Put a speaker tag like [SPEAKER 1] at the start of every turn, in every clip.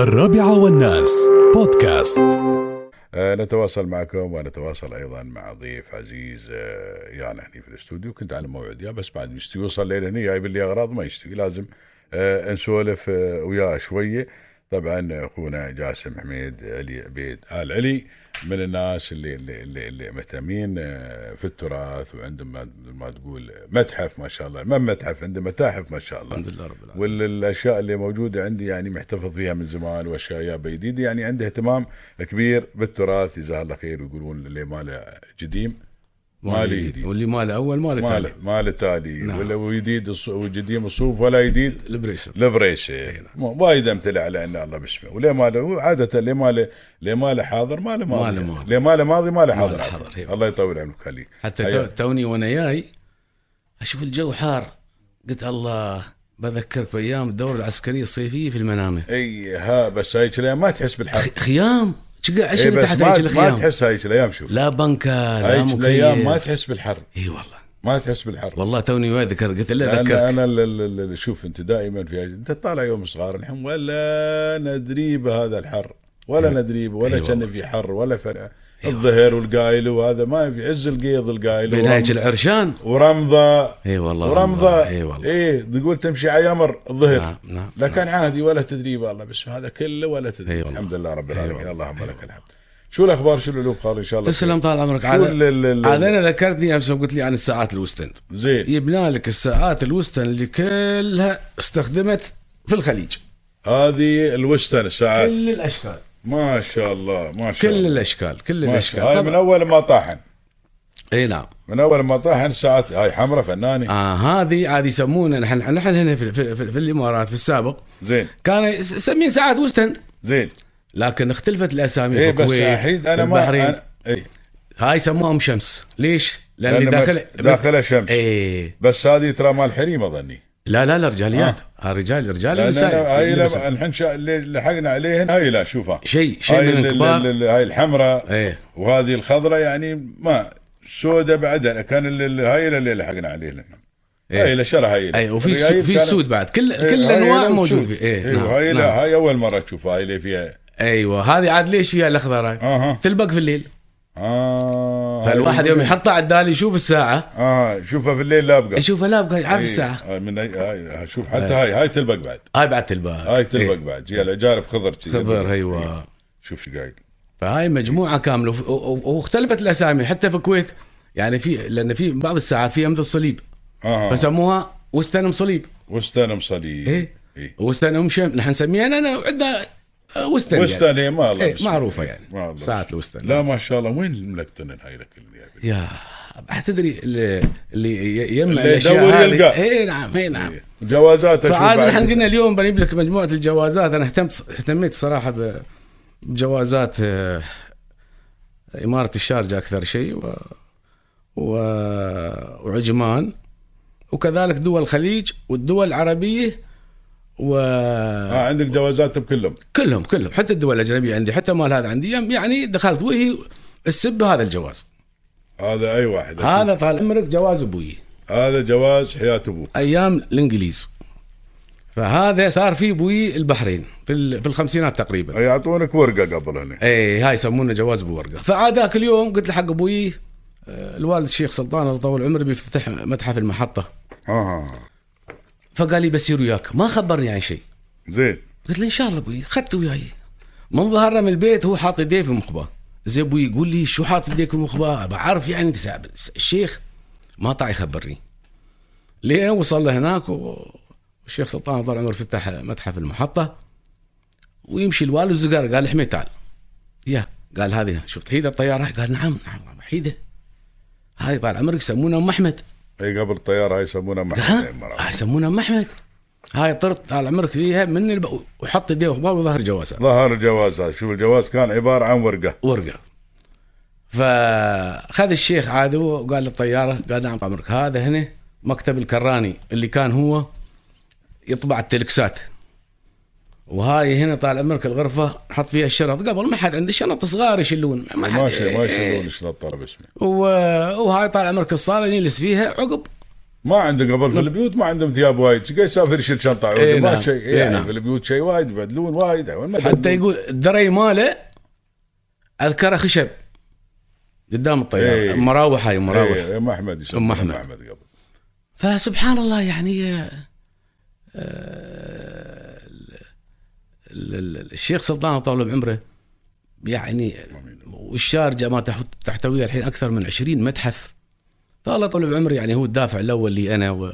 [SPEAKER 1] الرابعة والناس بودكاست
[SPEAKER 2] آه، نتواصل معكم ونتواصل ايضا مع ضيف عزيز آه، يعني هني في الاستوديو كنت على موعد يا بس بعد مشتي يوصل لين هني جايب لي اغراض ما يشتي لازم آه، نسولف آه، وياه شويه طبعا اخونا جاسم حميد علي عبيد ال علي من الناس اللي اللي اللي, اللي مهتمين آه، في التراث وعندهم ما- ما تقول متحف ما شاء الله ما متحف عنده متاحف ما شاء الله
[SPEAKER 3] الحمد لله رب العالمين
[SPEAKER 2] والاشياء اللي موجوده عندي يعني محتفظ فيها من زمان واشياء جايبه جديده يعني عنده اهتمام كبير بالتراث جزاه الله خير ويقولون اللي ماله قديم ماله جديد.
[SPEAKER 3] واللي ماله اول ماله
[SPEAKER 2] ماله
[SPEAKER 3] تالي
[SPEAKER 2] ماله تالي
[SPEAKER 3] نعم.
[SPEAKER 2] ولا وجديد الص- وقديم الصوف ولا جديد
[SPEAKER 3] البريسر
[SPEAKER 2] لبريشه
[SPEAKER 3] نعم.
[SPEAKER 2] م- وايد امثله على ان الله باسمه وليه ماله عاده اللي ماله اللي ماله حاضر ماله ماضي
[SPEAKER 3] ماله
[SPEAKER 2] يعني.
[SPEAKER 3] ماضي.
[SPEAKER 2] ليه ماله ماضي ماله حاضر
[SPEAKER 3] ماله
[SPEAKER 2] عفواً.
[SPEAKER 3] حاضر، أيوة.
[SPEAKER 2] الله يطول عمرك خليك
[SPEAKER 3] حتى
[SPEAKER 2] أيوة.
[SPEAKER 3] تو- توني وانا جاي اشوف الجو حار قلت الله بذكرك بايام الدوره العسكريه الصيفيه في المنامه
[SPEAKER 2] اي ها بس هاي الأيام ما تحس بالحر
[SPEAKER 3] خ- خيام شقا
[SPEAKER 2] إي
[SPEAKER 3] عشرة
[SPEAKER 2] أه. إيه بس
[SPEAKER 3] تحت
[SPEAKER 2] ما,
[SPEAKER 3] هيك
[SPEAKER 2] ما
[SPEAKER 3] الخيام
[SPEAKER 2] تحس هاي الايام شوف
[SPEAKER 3] لا بنكه لا
[SPEAKER 2] هاي الايام ما
[SPEAKER 3] مكيف
[SPEAKER 2] تحس بالحر
[SPEAKER 3] اي والله
[SPEAKER 2] ما تحس بالحر
[SPEAKER 3] والله توني ما اذكر قلت لا
[SPEAKER 2] انا
[SPEAKER 3] اذكرك
[SPEAKER 2] انا ال- ال- ال- شوف انت دائما في انت طالع يوم صغار الحين ولا ندري بهذا الحر ولا ندري به، ولا
[SPEAKER 3] أيوة.
[SPEAKER 2] كان في حر ولا فرق الظهر والقايل وهذا ما في عز القيض القايل
[SPEAKER 3] بين
[SPEAKER 2] ورم-
[SPEAKER 3] هيك العرشان
[SPEAKER 2] ورمضه
[SPEAKER 3] اي والله
[SPEAKER 2] ورمضه
[SPEAKER 3] اي والله
[SPEAKER 2] ايه تقول تمشي على يمر الظهر
[SPEAKER 3] نعم نعم
[SPEAKER 2] لا كان عادي ولا تدري والله بس هذا كله ولا تدري
[SPEAKER 3] أيوة والله.
[SPEAKER 2] الحمد لله رب
[SPEAKER 3] أيوة
[SPEAKER 2] العالمين
[SPEAKER 3] والله.
[SPEAKER 2] اللهم لك الحمد شو الاخبار شو العلوم خالد ان شاء الله
[SPEAKER 3] تسلم طال عمرك
[SPEAKER 2] شو
[SPEAKER 3] عاد
[SPEAKER 2] ال- ال- ال-
[SPEAKER 3] عاد انا ذكرتني امس يوم قلت لي عن الساعات الوستند
[SPEAKER 2] زين
[SPEAKER 3] يبنى لك الساعات الوستن اللي كلها استخدمت في الخليج
[SPEAKER 2] أه. هذه الوستن الساعات
[SPEAKER 3] كل الاشكال
[SPEAKER 2] ما شاء الله ما شاء
[SPEAKER 3] كل
[SPEAKER 2] الله
[SPEAKER 3] الاشكال كل
[SPEAKER 2] ما
[SPEAKER 3] الاشكال
[SPEAKER 2] شاء الله هاي من اول ما طاحن
[SPEAKER 3] اي نعم
[SPEAKER 2] من اول ما طاحن ساعات هاي حمراء فناني
[SPEAKER 3] آه هذه عاد يسمونها نحن نحن هنا في, في, في, في الامارات في السابق
[SPEAKER 2] زين
[SPEAKER 3] كان يس- يسمين ساعات وستند
[SPEAKER 2] زين
[SPEAKER 3] لكن اختلفت الاسامي
[SPEAKER 2] اي
[SPEAKER 3] في
[SPEAKER 2] بس
[SPEAKER 3] الكويت
[SPEAKER 2] الحين انا ما
[SPEAKER 3] البحرين
[SPEAKER 2] أنا إيه
[SPEAKER 3] هاي سموها ام شمس ليش؟ لان,
[SPEAKER 2] لأن
[SPEAKER 3] اللي
[SPEAKER 2] بس-
[SPEAKER 3] داخل
[SPEAKER 2] داخلها شمس
[SPEAKER 3] اي
[SPEAKER 2] بس هذه ترى مال حريم اظني
[SPEAKER 3] لا لا لا رجاليات آه. رجال رجال
[SPEAKER 2] لأن أنا- هاي
[SPEAKER 3] ونساء
[SPEAKER 2] لما- الحين شا- اللي لحقنا عليهن هاي لا شوفها
[SPEAKER 3] شيء شيء
[SPEAKER 2] هاي
[SPEAKER 3] من
[SPEAKER 2] ال- ال-
[SPEAKER 3] الكبار
[SPEAKER 2] ال- هاي الحمراء
[SPEAKER 3] ايه
[SPEAKER 2] وهذه الخضراء يعني ما سوداء بعدها كان ال- ال- هاي اللي لحقنا عليه
[SPEAKER 3] إيه.
[SPEAKER 2] هاي شرى هاي
[SPEAKER 3] اي وفي
[SPEAKER 2] هاي
[SPEAKER 3] السو- في
[SPEAKER 2] كانت-
[SPEAKER 3] السود بعد كل
[SPEAKER 2] إيه،
[SPEAKER 3] كل
[SPEAKER 2] هاي
[SPEAKER 3] الانواع
[SPEAKER 2] لو
[SPEAKER 3] موجود
[SPEAKER 2] سود.
[SPEAKER 3] فيه ايه
[SPEAKER 2] إيوه، هاي
[SPEAKER 3] نعم
[SPEAKER 2] لا
[SPEAKER 3] نعم.
[SPEAKER 2] هاي اول مره تشوفها هاي اللي فيها
[SPEAKER 3] ايوه هذه عاد ليش فيها الاخضر هاي
[SPEAKER 2] اها
[SPEAKER 3] تلبق في الليل
[SPEAKER 2] آه، اه
[SPEAKER 3] فالواحد
[SPEAKER 2] هاي-
[SPEAKER 3] يوم يحطها على الدال يشوف الساعه
[SPEAKER 2] اه شوفها في الليل لابقه
[SPEAKER 3] يشوفها لابقه عارف
[SPEAKER 2] إيه،
[SPEAKER 3] الساعه
[SPEAKER 2] آه، من أي- هاي شوف حتى هاي هاي تلبق بعد
[SPEAKER 3] هاي بعد تلبق
[SPEAKER 2] هاي تلبق
[SPEAKER 3] إيه،
[SPEAKER 2] بعد هي الاجارب خضر جي.
[SPEAKER 3] خضر
[SPEAKER 2] إيه.
[SPEAKER 3] ايوه
[SPEAKER 2] شوف شو قايل
[SPEAKER 3] فهاي مجموعه كامله وف- و- و- واختلفت الاسامي حتى في الكويت يعني في لان في بعض الساعات فيها مثل صليب
[SPEAKER 2] اه
[SPEAKER 3] فسموها وستنم صليب
[SPEAKER 2] وستان مصلي
[SPEAKER 3] إيه. وستنم شم نحن نسميها أنا- انا عندنا آه، وستن يعني.
[SPEAKER 2] وستان هي ما الله
[SPEAKER 3] إيه،
[SPEAKER 2] بسم
[SPEAKER 3] معروفه
[SPEAKER 2] الله. ما الله
[SPEAKER 3] يعني ساعات
[SPEAKER 2] بسم الله.
[SPEAKER 3] الوستن
[SPEAKER 2] لا ما شاء الله وين ملكتن هاي لك اللي جايبين؟
[SPEAKER 3] يا تدري اللي اللي يجمع
[SPEAKER 2] اللي
[SPEAKER 3] الاشياء
[SPEAKER 2] يدور
[SPEAKER 3] هذه-
[SPEAKER 2] يلقاه.
[SPEAKER 3] اي نعم اي نعم
[SPEAKER 2] إيه. جوازات أشوف
[SPEAKER 3] فعاد
[SPEAKER 2] بعد.
[SPEAKER 3] نحن قلنا اليوم بنجيب لك مجموعه الجوازات انا اهتمت اهتميت صراحه ب- بجوازات آه، اماره الشارجه اكثر شيء و... و... وعجمان وكذلك دول الخليج والدول العربيه وكلهم
[SPEAKER 2] اه عندك جوازاتهم كلهم
[SPEAKER 3] كلهم حتى الدول الاجنبيه عندي حتى مال هذا عندي يعني دخلت وجهي السب هذا الجواز
[SPEAKER 2] هذا اي واحد
[SPEAKER 3] هذا طال عمرك جواز ابوي
[SPEAKER 2] هذا جواز حياه ابوك
[SPEAKER 3] ايام الانجليز فهذا صار في بوي البحرين في ال- في الخمسينات تقريبا
[SPEAKER 2] يعطونك ورقه قبل هنا
[SPEAKER 3] اي إيه، هاي يسمونه جواز بورقه فعاداك اليوم قلت لحق ابوي آه، الوالد الشيخ سلطان الله طول عمره بيفتتح متحف المحطه
[SPEAKER 2] اه
[SPEAKER 3] فقال لي بسير وياك ما خبرني عن شيء
[SPEAKER 2] زين
[SPEAKER 3] قلت له ان شاء الله ابوي خدت وياي من ظهرنا من البيت هو حاط يديه في مخباه زي ابوي يقول لي شو حاط يديك في مخباه بعرف يعني تساعد. الشيخ ما طاع يخبرني لين وصل هناك والشيخ سلطان طال عمره فتح متحف المحطه ويمشي الوالد الزقر قال حميد تعال يا قال هذه شفت حيده الطياره قال نعم نعم حيده هذه طال عمرك يسمونها ام احمد
[SPEAKER 2] اي قبل الطياره هاي يسمونها محطه
[SPEAKER 3] ها
[SPEAKER 2] المرأة.
[SPEAKER 3] هاي يسمونها ام احمد هاي طرت طال عمرك فيها من الب... وحط يديه في باب ظهر جوازها
[SPEAKER 2] ظهر الجواز هذا شوف الجواز كان عباره عن ورقه
[SPEAKER 3] ورقه فخذ الشيخ عاد هو وقال للطياره قال نعم عمرك هذا هنا مكتب الكراني اللي كان هو يطبع التلكسات وهاي هنا طال عمرك الغرفه حط فيها الشنط قبل ما حد عنده شنط صغار يشلون ما حد
[SPEAKER 2] ما شاء ما يشيلون شنو الطلب اسمه
[SPEAKER 3] و- وهاي طال عمرك الصاله اللي يجلس فيها عقب
[SPEAKER 2] ما عنده قبل في البيوت ما عندهم ثياب وايد شي قاعد يسافر يشيل شنطه عودي
[SPEAKER 3] إيه
[SPEAKER 2] ما
[SPEAKER 3] نعم.
[SPEAKER 2] شيء
[SPEAKER 3] إيه
[SPEAKER 2] يعني
[SPEAKER 3] نعم.
[SPEAKER 2] في البيوت شيء وايد يبدلون وايد وين ما
[SPEAKER 3] حتى يقول الدري ماله اذكره خشب قدام الطياره
[SPEAKER 2] إيه.
[SPEAKER 3] مراوح هاي مراوح
[SPEAKER 2] إيه، ام احمد يسمونه،
[SPEAKER 3] أم أحمد.
[SPEAKER 2] احمد قبل
[SPEAKER 3] فسبحان الله يعني آه، آه، ال- ال- الشيخ سلطان الله طول بعمره يعني والشارجه ما تحت- تحتويها الحين اكثر من 20 متحف فالله طول بعمره يعني هو الدافع الاول لي انا و...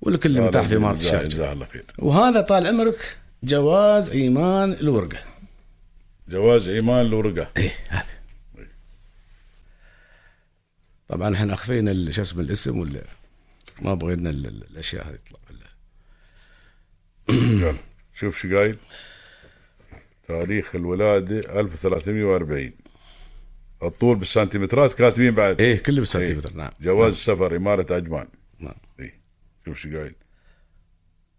[SPEAKER 3] والكل اللي متاح في
[SPEAKER 2] الله
[SPEAKER 3] اماره
[SPEAKER 2] يجزاه-
[SPEAKER 3] الشارجه
[SPEAKER 2] جزاه الله خير
[SPEAKER 3] وهذا طال عمرك جواز ايمان الورقه
[SPEAKER 2] جواز ايمان الورقه
[SPEAKER 3] ايه هذا طبعا احنا اخفينا ال- شو اسمه الاسم ولا ما بغينا ال- ال- الاشياء هذه تطلع ولا
[SPEAKER 2] يلا، شوف شو قايل تاريخ الولاده 1340 الطول بالسنتيمترات كاتبين بعد
[SPEAKER 3] ايه كله بالسنتيمتر نعم
[SPEAKER 2] جواز السفر اماره عجمان
[SPEAKER 3] نعم
[SPEAKER 2] إيه. شوف شو قايل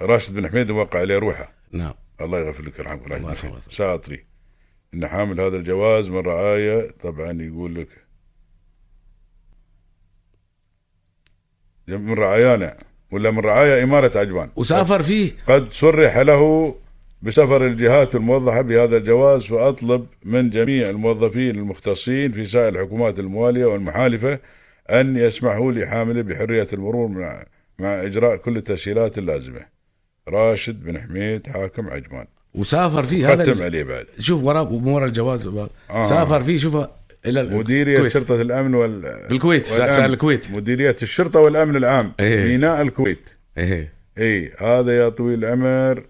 [SPEAKER 2] راشد بن حميد وقع عليه روحه
[SPEAKER 3] نعم
[SPEAKER 2] الله يغفر لك ويرحمك الله
[SPEAKER 3] يرحمه.
[SPEAKER 2] يرحمك ساطري ان حامل هذا الجواز من رعاية طبعا يقول لك من رعايانا ولا من رعايا إمارة عجبان
[SPEAKER 3] وسافر فيه
[SPEAKER 2] قد صرح له بسفر الجهات الموظفة بهذا الجواز فأطلب من جميع الموظفين المختصين في سائر الحكومات الموالية والمحالفة أن يسمحوا لحامله بحرية المرور مع, مع إجراء كل التسهيلات اللازمة راشد بن حميد حاكم عجمان
[SPEAKER 3] وسافر فيه هذا
[SPEAKER 2] ختم
[SPEAKER 3] ال-
[SPEAKER 2] عليه بعد
[SPEAKER 3] شوف ورا ورا الجواز
[SPEAKER 2] آه.
[SPEAKER 3] سافر فيه شوف الى ال-
[SPEAKER 2] مديرية
[SPEAKER 3] الكويت.
[SPEAKER 2] شرطة الأمن وال
[SPEAKER 3] بالكويت سا-
[SPEAKER 2] والأمن.
[SPEAKER 3] سا- الكويت
[SPEAKER 2] مديرية الشرطة والأمن العام
[SPEAKER 3] إيه.
[SPEAKER 2] ميناء الكويت
[SPEAKER 3] ايه
[SPEAKER 2] اي هذا يا طويل العمر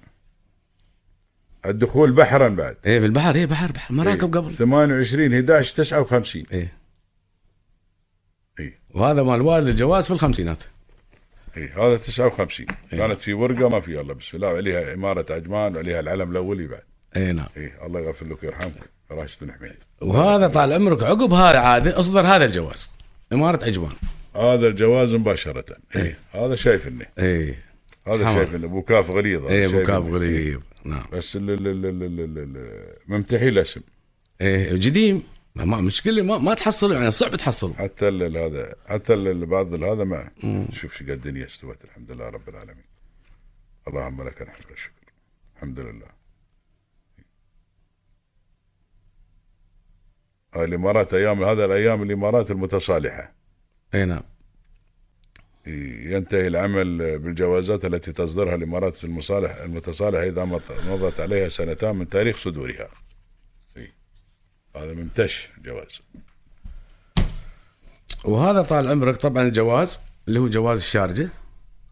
[SPEAKER 2] الدخول بحرا بعد
[SPEAKER 3] ايه في البحر ايه بحر بحر مراكب قبل
[SPEAKER 2] 28 11 59
[SPEAKER 3] ايه
[SPEAKER 2] اي
[SPEAKER 3] وهذا مال والد الجواز في الخمسينات
[SPEAKER 2] اي إيه. هذا 59
[SPEAKER 3] إيه.
[SPEAKER 2] كانت في ورقه ما في الله بسم الله عليها اماره عجمان وعليها العلم الاولي بعد
[SPEAKER 3] ايه نعم
[SPEAKER 2] اي الله يغفر لك ويرحمك راشد بن حميد
[SPEAKER 3] وهذا طال عمرك عقب هذا عاده اصدر هذا الجواز اماره عجوان
[SPEAKER 2] هذا الجواز مباشره
[SPEAKER 3] إيه.
[SPEAKER 2] اي هذا شايفني
[SPEAKER 3] ايه
[SPEAKER 2] هذا
[SPEAKER 3] حمر.
[SPEAKER 2] شايفني ابو كاف غليظ هذا
[SPEAKER 3] ايه ابو
[SPEAKER 2] شايفني.
[SPEAKER 3] كاب غريب نعم
[SPEAKER 2] بس ال- ال- ال- ال- ال- ال- ممتحي الاسم
[SPEAKER 3] ايه قديم ما- ما مشكله ما, ما تحصل يعني صعب تحصل
[SPEAKER 2] حتى ال- ال- هذا حتى ال- ال- بعض ال- هذا ما شوف شقد الدنيا استوت الحمد لله رب العالمين اللهم لك الحمد والشكر الحمد لله هاي الامارات ايام هذا الايام الامارات المتصالحه
[SPEAKER 3] ايه نعم
[SPEAKER 2] ينتهي العمل بالجوازات التي تصدرها الامارات المصالح المتصالحه اذا مض- مضت عليها سنتان من تاريخ صدورها. إي. هذا ممتش جواز.
[SPEAKER 3] وهذا طال عمرك طبعا الجواز اللي هو جواز الشارجه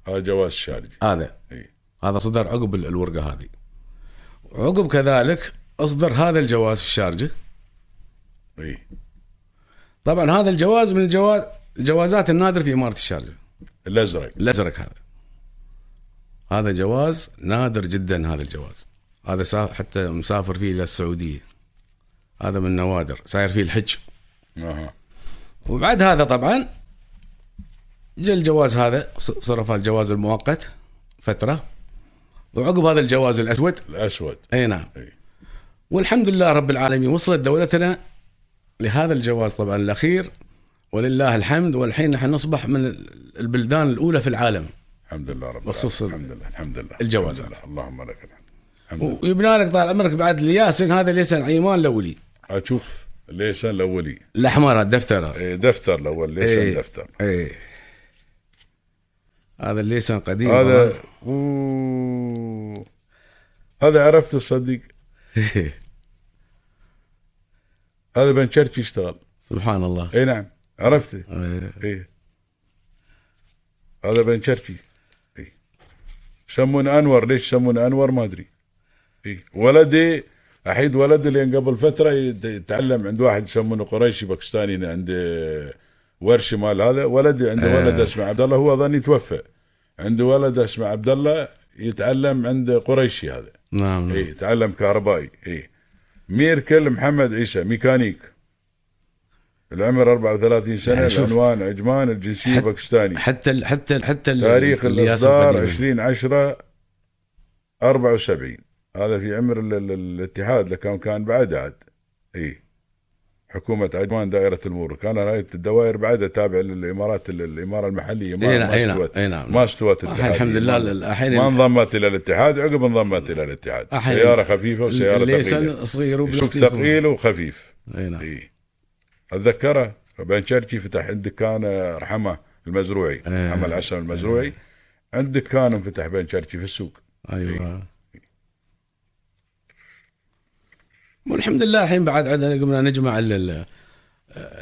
[SPEAKER 2] هذا آه، جواز شارجي.
[SPEAKER 3] هذا
[SPEAKER 2] إي.
[SPEAKER 3] هذا صدر عقب ال- الورقه هذه عقب كذلك اصدر هذا الجواز في الشارجه
[SPEAKER 2] اي
[SPEAKER 3] طبعا هذا الجواز من الجواز الجوازات النادره في اماره الشارجه
[SPEAKER 2] الازرق
[SPEAKER 3] الازرق هذا هذا جواز نادر جدا هذا الجواز هذا سا... حتى مسافر فيه الى السعوديه هذا من النوادر صاير فيه الحج
[SPEAKER 2] اها
[SPEAKER 3] وبعد هذا طبعا جاء الجواز هذا ص- صرف الجواز المؤقت فتره وعقب هذا الجواز الاسود
[SPEAKER 2] الاسود
[SPEAKER 3] اي نعم
[SPEAKER 2] اي
[SPEAKER 3] والحمد لله رب العالمين وصلت دولتنا لهذا الجواز طبعا الاخير ولله الحمد والحين نحن نصبح من ال- البلدان الاولى في العالم
[SPEAKER 2] الحمد لله رب
[SPEAKER 3] بخصوص
[SPEAKER 2] العالمين. الحمد لله الحمد لله
[SPEAKER 3] الجوازات.
[SPEAKER 2] الحمد لله. اللهم لك الحمد الحمد لله.
[SPEAKER 3] ويبنى لك طال عمرك بعد الياسن هذا ليس ايمان الاولي
[SPEAKER 2] اشوف ليسن الاولي
[SPEAKER 3] الاحمر الدفتر
[SPEAKER 2] إيه، دفتر الاول ليسن دفتر
[SPEAKER 3] اي هذا الليسن قديم طبعاً.
[SPEAKER 2] هذا أوه. هذا عرفت الصديق هذا بن شرشي يشتغل
[SPEAKER 3] سبحان الله
[SPEAKER 2] اي نعم عرفته
[SPEAKER 3] إيه.
[SPEAKER 2] اي هذا بن شرشي اي يسمونه انور ليش يسمونه انور ما إيه. ادري اي ولدي احيد ولدي لان قبل فتره يت- يتعلم عند واحد يسمونه قريشي باكستاني هنا عند ورشه مال هذا ولدي عنده ولد اسمه عبد الله هو ظني توفى عنده ولد اسمه عبد الله يتعلم عند قريشي هذا
[SPEAKER 3] نعم نعم.
[SPEAKER 2] اي إيه، تعلم كهربائي اي ميركل محمد عيسى ميكانيك العمر 34 سنه
[SPEAKER 3] يعني شوف.
[SPEAKER 2] العنوان عجمان الجنسيه
[SPEAKER 3] حت-
[SPEAKER 2] باكستاني
[SPEAKER 3] حتى ال حتى ال حتى ال-
[SPEAKER 2] تاريخ
[SPEAKER 3] الياسن
[SPEAKER 2] الاصدار
[SPEAKER 3] قديم.
[SPEAKER 2] 20 10 74 هذا في عمر ال- ال- الاتحاد لكن كان بعد عاد اي حكومه إيه. عجمان دائره المورك انا رايت الدوائر بعدها تابع للامارات ال- الاماره المحليه ما,
[SPEAKER 3] إي نعم،
[SPEAKER 2] ما
[SPEAKER 3] إي نعم،
[SPEAKER 2] استوت
[SPEAKER 3] إي نعم.
[SPEAKER 2] ما استوت
[SPEAKER 3] الحين
[SPEAKER 2] الاتحاد
[SPEAKER 3] الحمد لله
[SPEAKER 2] ما-
[SPEAKER 3] الحين
[SPEAKER 2] ما انضمت الى الاتحاد عقب انضمت الى الاتحاد
[SPEAKER 3] الحين
[SPEAKER 2] سياره خفيفه وسياره ثقيله
[SPEAKER 3] الليسان صغير
[SPEAKER 2] شوف إيه.
[SPEAKER 3] وبلاستيك
[SPEAKER 2] ثقيل وخفيف
[SPEAKER 3] اي نعم
[SPEAKER 2] اي اتذكره بن شرشي فتح عند دكان آه، رحمه المزروعي
[SPEAKER 3] إيه.
[SPEAKER 2] رحمه العسل المزروعي عند دكان انفتح بن شرشي في السوق
[SPEAKER 3] ايوه
[SPEAKER 2] إيه.
[SPEAKER 3] والحمد لله الحين بعد عندنا قمنا نجمع ال- ال-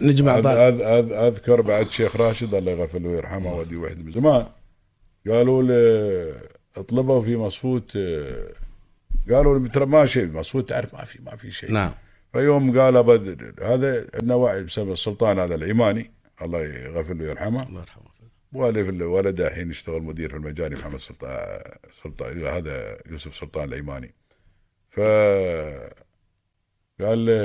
[SPEAKER 3] نجمع
[SPEAKER 2] أذ
[SPEAKER 3] بعض-
[SPEAKER 2] أذ أذ اذكر بعد شيخ راشد الله يغفله ويرحمه ودي واحد من زمان قالوا لي اطلبوا في مصفوت آه، قالوا لي ترى ما شيء مصفوت تعرف ما في ما في شيء
[SPEAKER 3] نعم
[SPEAKER 2] فيوم قال أبد هذا عندنا واحد بسبب السلطان هذا العماني الله يغفله ويرحمه
[SPEAKER 3] الله يرحمه
[SPEAKER 2] والف الولد الحين يشتغل مدير في المجاري محمد سلطان سلطان هذا يوسف سلطان الايماني ف قال له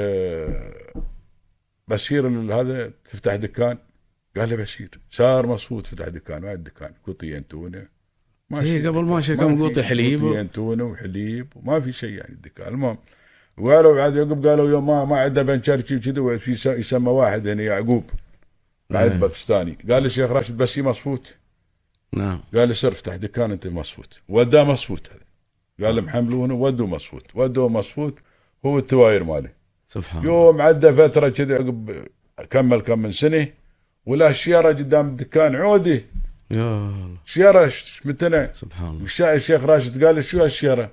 [SPEAKER 2] بشير ال- هذا تفتح دكان قال له بشير صار مصفوت فتح دكان ما دكان قطيين تونه ما
[SPEAKER 3] إيه،
[SPEAKER 2] شي.
[SPEAKER 3] قبل ما شي
[SPEAKER 2] ما
[SPEAKER 3] كان
[SPEAKER 2] في
[SPEAKER 3] قطي حليب.
[SPEAKER 2] قطيين تونه وحليب وما في شيء يعني الدكان المهم وقالوا بعد يعقوب قالوا يوم ما ما عندنا بنشرشي وكذا وفي س- يسمى واحد هنا يعقوب
[SPEAKER 3] إيه.
[SPEAKER 2] بعد باكستاني قال الشيخ راشد بس هي مصفوت
[SPEAKER 3] نعم
[SPEAKER 2] قال لي سر افتح دكان انت مصفوت وداه مصفوت هذا قال لهم حملونه ودوا مصفوت ودوا مصفوت هو التواير ماله
[SPEAKER 3] سبحان الله
[SPEAKER 2] يوم عدى فتره كذا عقب كمل كم من سنه ولا الشياره قدام الدكان عودي
[SPEAKER 3] يا الله
[SPEAKER 2] شياره متنا
[SPEAKER 3] سبحان الله
[SPEAKER 2] وش- الشيخ راشد قال لي شو هالشيره؟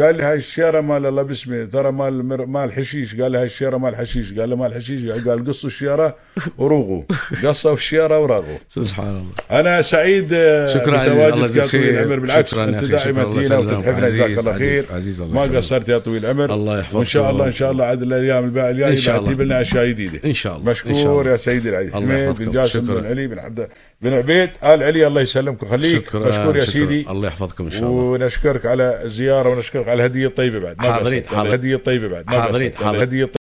[SPEAKER 2] قال لي هاي الشيره مال الله باسمي ترى مال مر- مال حشيش قال لي هاي الشيره مال حشيش قال له مال حشيش قال قصوا الشيره وروغوا قصوا الشيره وراغوا
[SPEAKER 3] سبحان الله
[SPEAKER 2] انا سعيد آه،
[SPEAKER 3] شكراً عزيز،
[SPEAKER 2] بتواجدك
[SPEAKER 3] الله يجزيك
[SPEAKER 2] يا طويل
[SPEAKER 3] خير.
[SPEAKER 2] العمر بالعكس
[SPEAKER 3] شكراً يا
[SPEAKER 2] انت
[SPEAKER 3] أخي، شكراً،
[SPEAKER 2] دائما
[SPEAKER 3] الله
[SPEAKER 2] تجينا
[SPEAKER 3] يسلمك.
[SPEAKER 2] وتتحفنا جزاك
[SPEAKER 3] عزيز،
[SPEAKER 2] الله
[SPEAKER 3] عزيز،
[SPEAKER 2] خير
[SPEAKER 3] عزيز، الله
[SPEAKER 2] ما
[SPEAKER 3] يسلمك.
[SPEAKER 2] قصرت يا طويل العمر
[SPEAKER 3] الله
[SPEAKER 2] وان
[SPEAKER 3] يحفظك
[SPEAKER 2] شاء الله ان شاء الله عاد الايام الباقيه الجايه
[SPEAKER 3] إن شاء الله.
[SPEAKER 2] تجيب لنا اشياء جديده
[SPEAKER 3] إن شاء الله. إن شاء
[SPEAKER 2] مشكور
[SPEAKER 3] الله.
[SPEAKER 2] يا سيدي العزيز
[SPEAKER 3] الله
[SPEAKER 2] حميد
[SPEAKER 3] يحفظكم.
[SPEAKER 2] بن جاسم
[SPEAKER 3] شكراً.
[SPEAKER 2] بن علي بن عبد بن عبيد ال علي الله يسلمك ويخليك
[SPEAKER 3] شكرا
[SPEAKER 2] مشكور يا
[SPEAKER 3] شكراً.
[SPEAKER 2] سيدي
[SPEAKER 3] الله يحفظكم ان شاء الله
[SPEAKER 2] ونشكرك على الزياره ونشكرك على الهديه الطيبه بعد ما
[SPEAKER 3] حاضرين،
[SPEAKER 2] قصرت.
[SPEAKER 3] حاضرين.
[SPEAKER 2] الهديه الطيبه بعد ما
[SPEAKER 3] حاضرين،
[SPEAKER 2] قصرت.
[SPEAKER 3] حاضرين.
[SPEAKER 2] الهديه الطيبة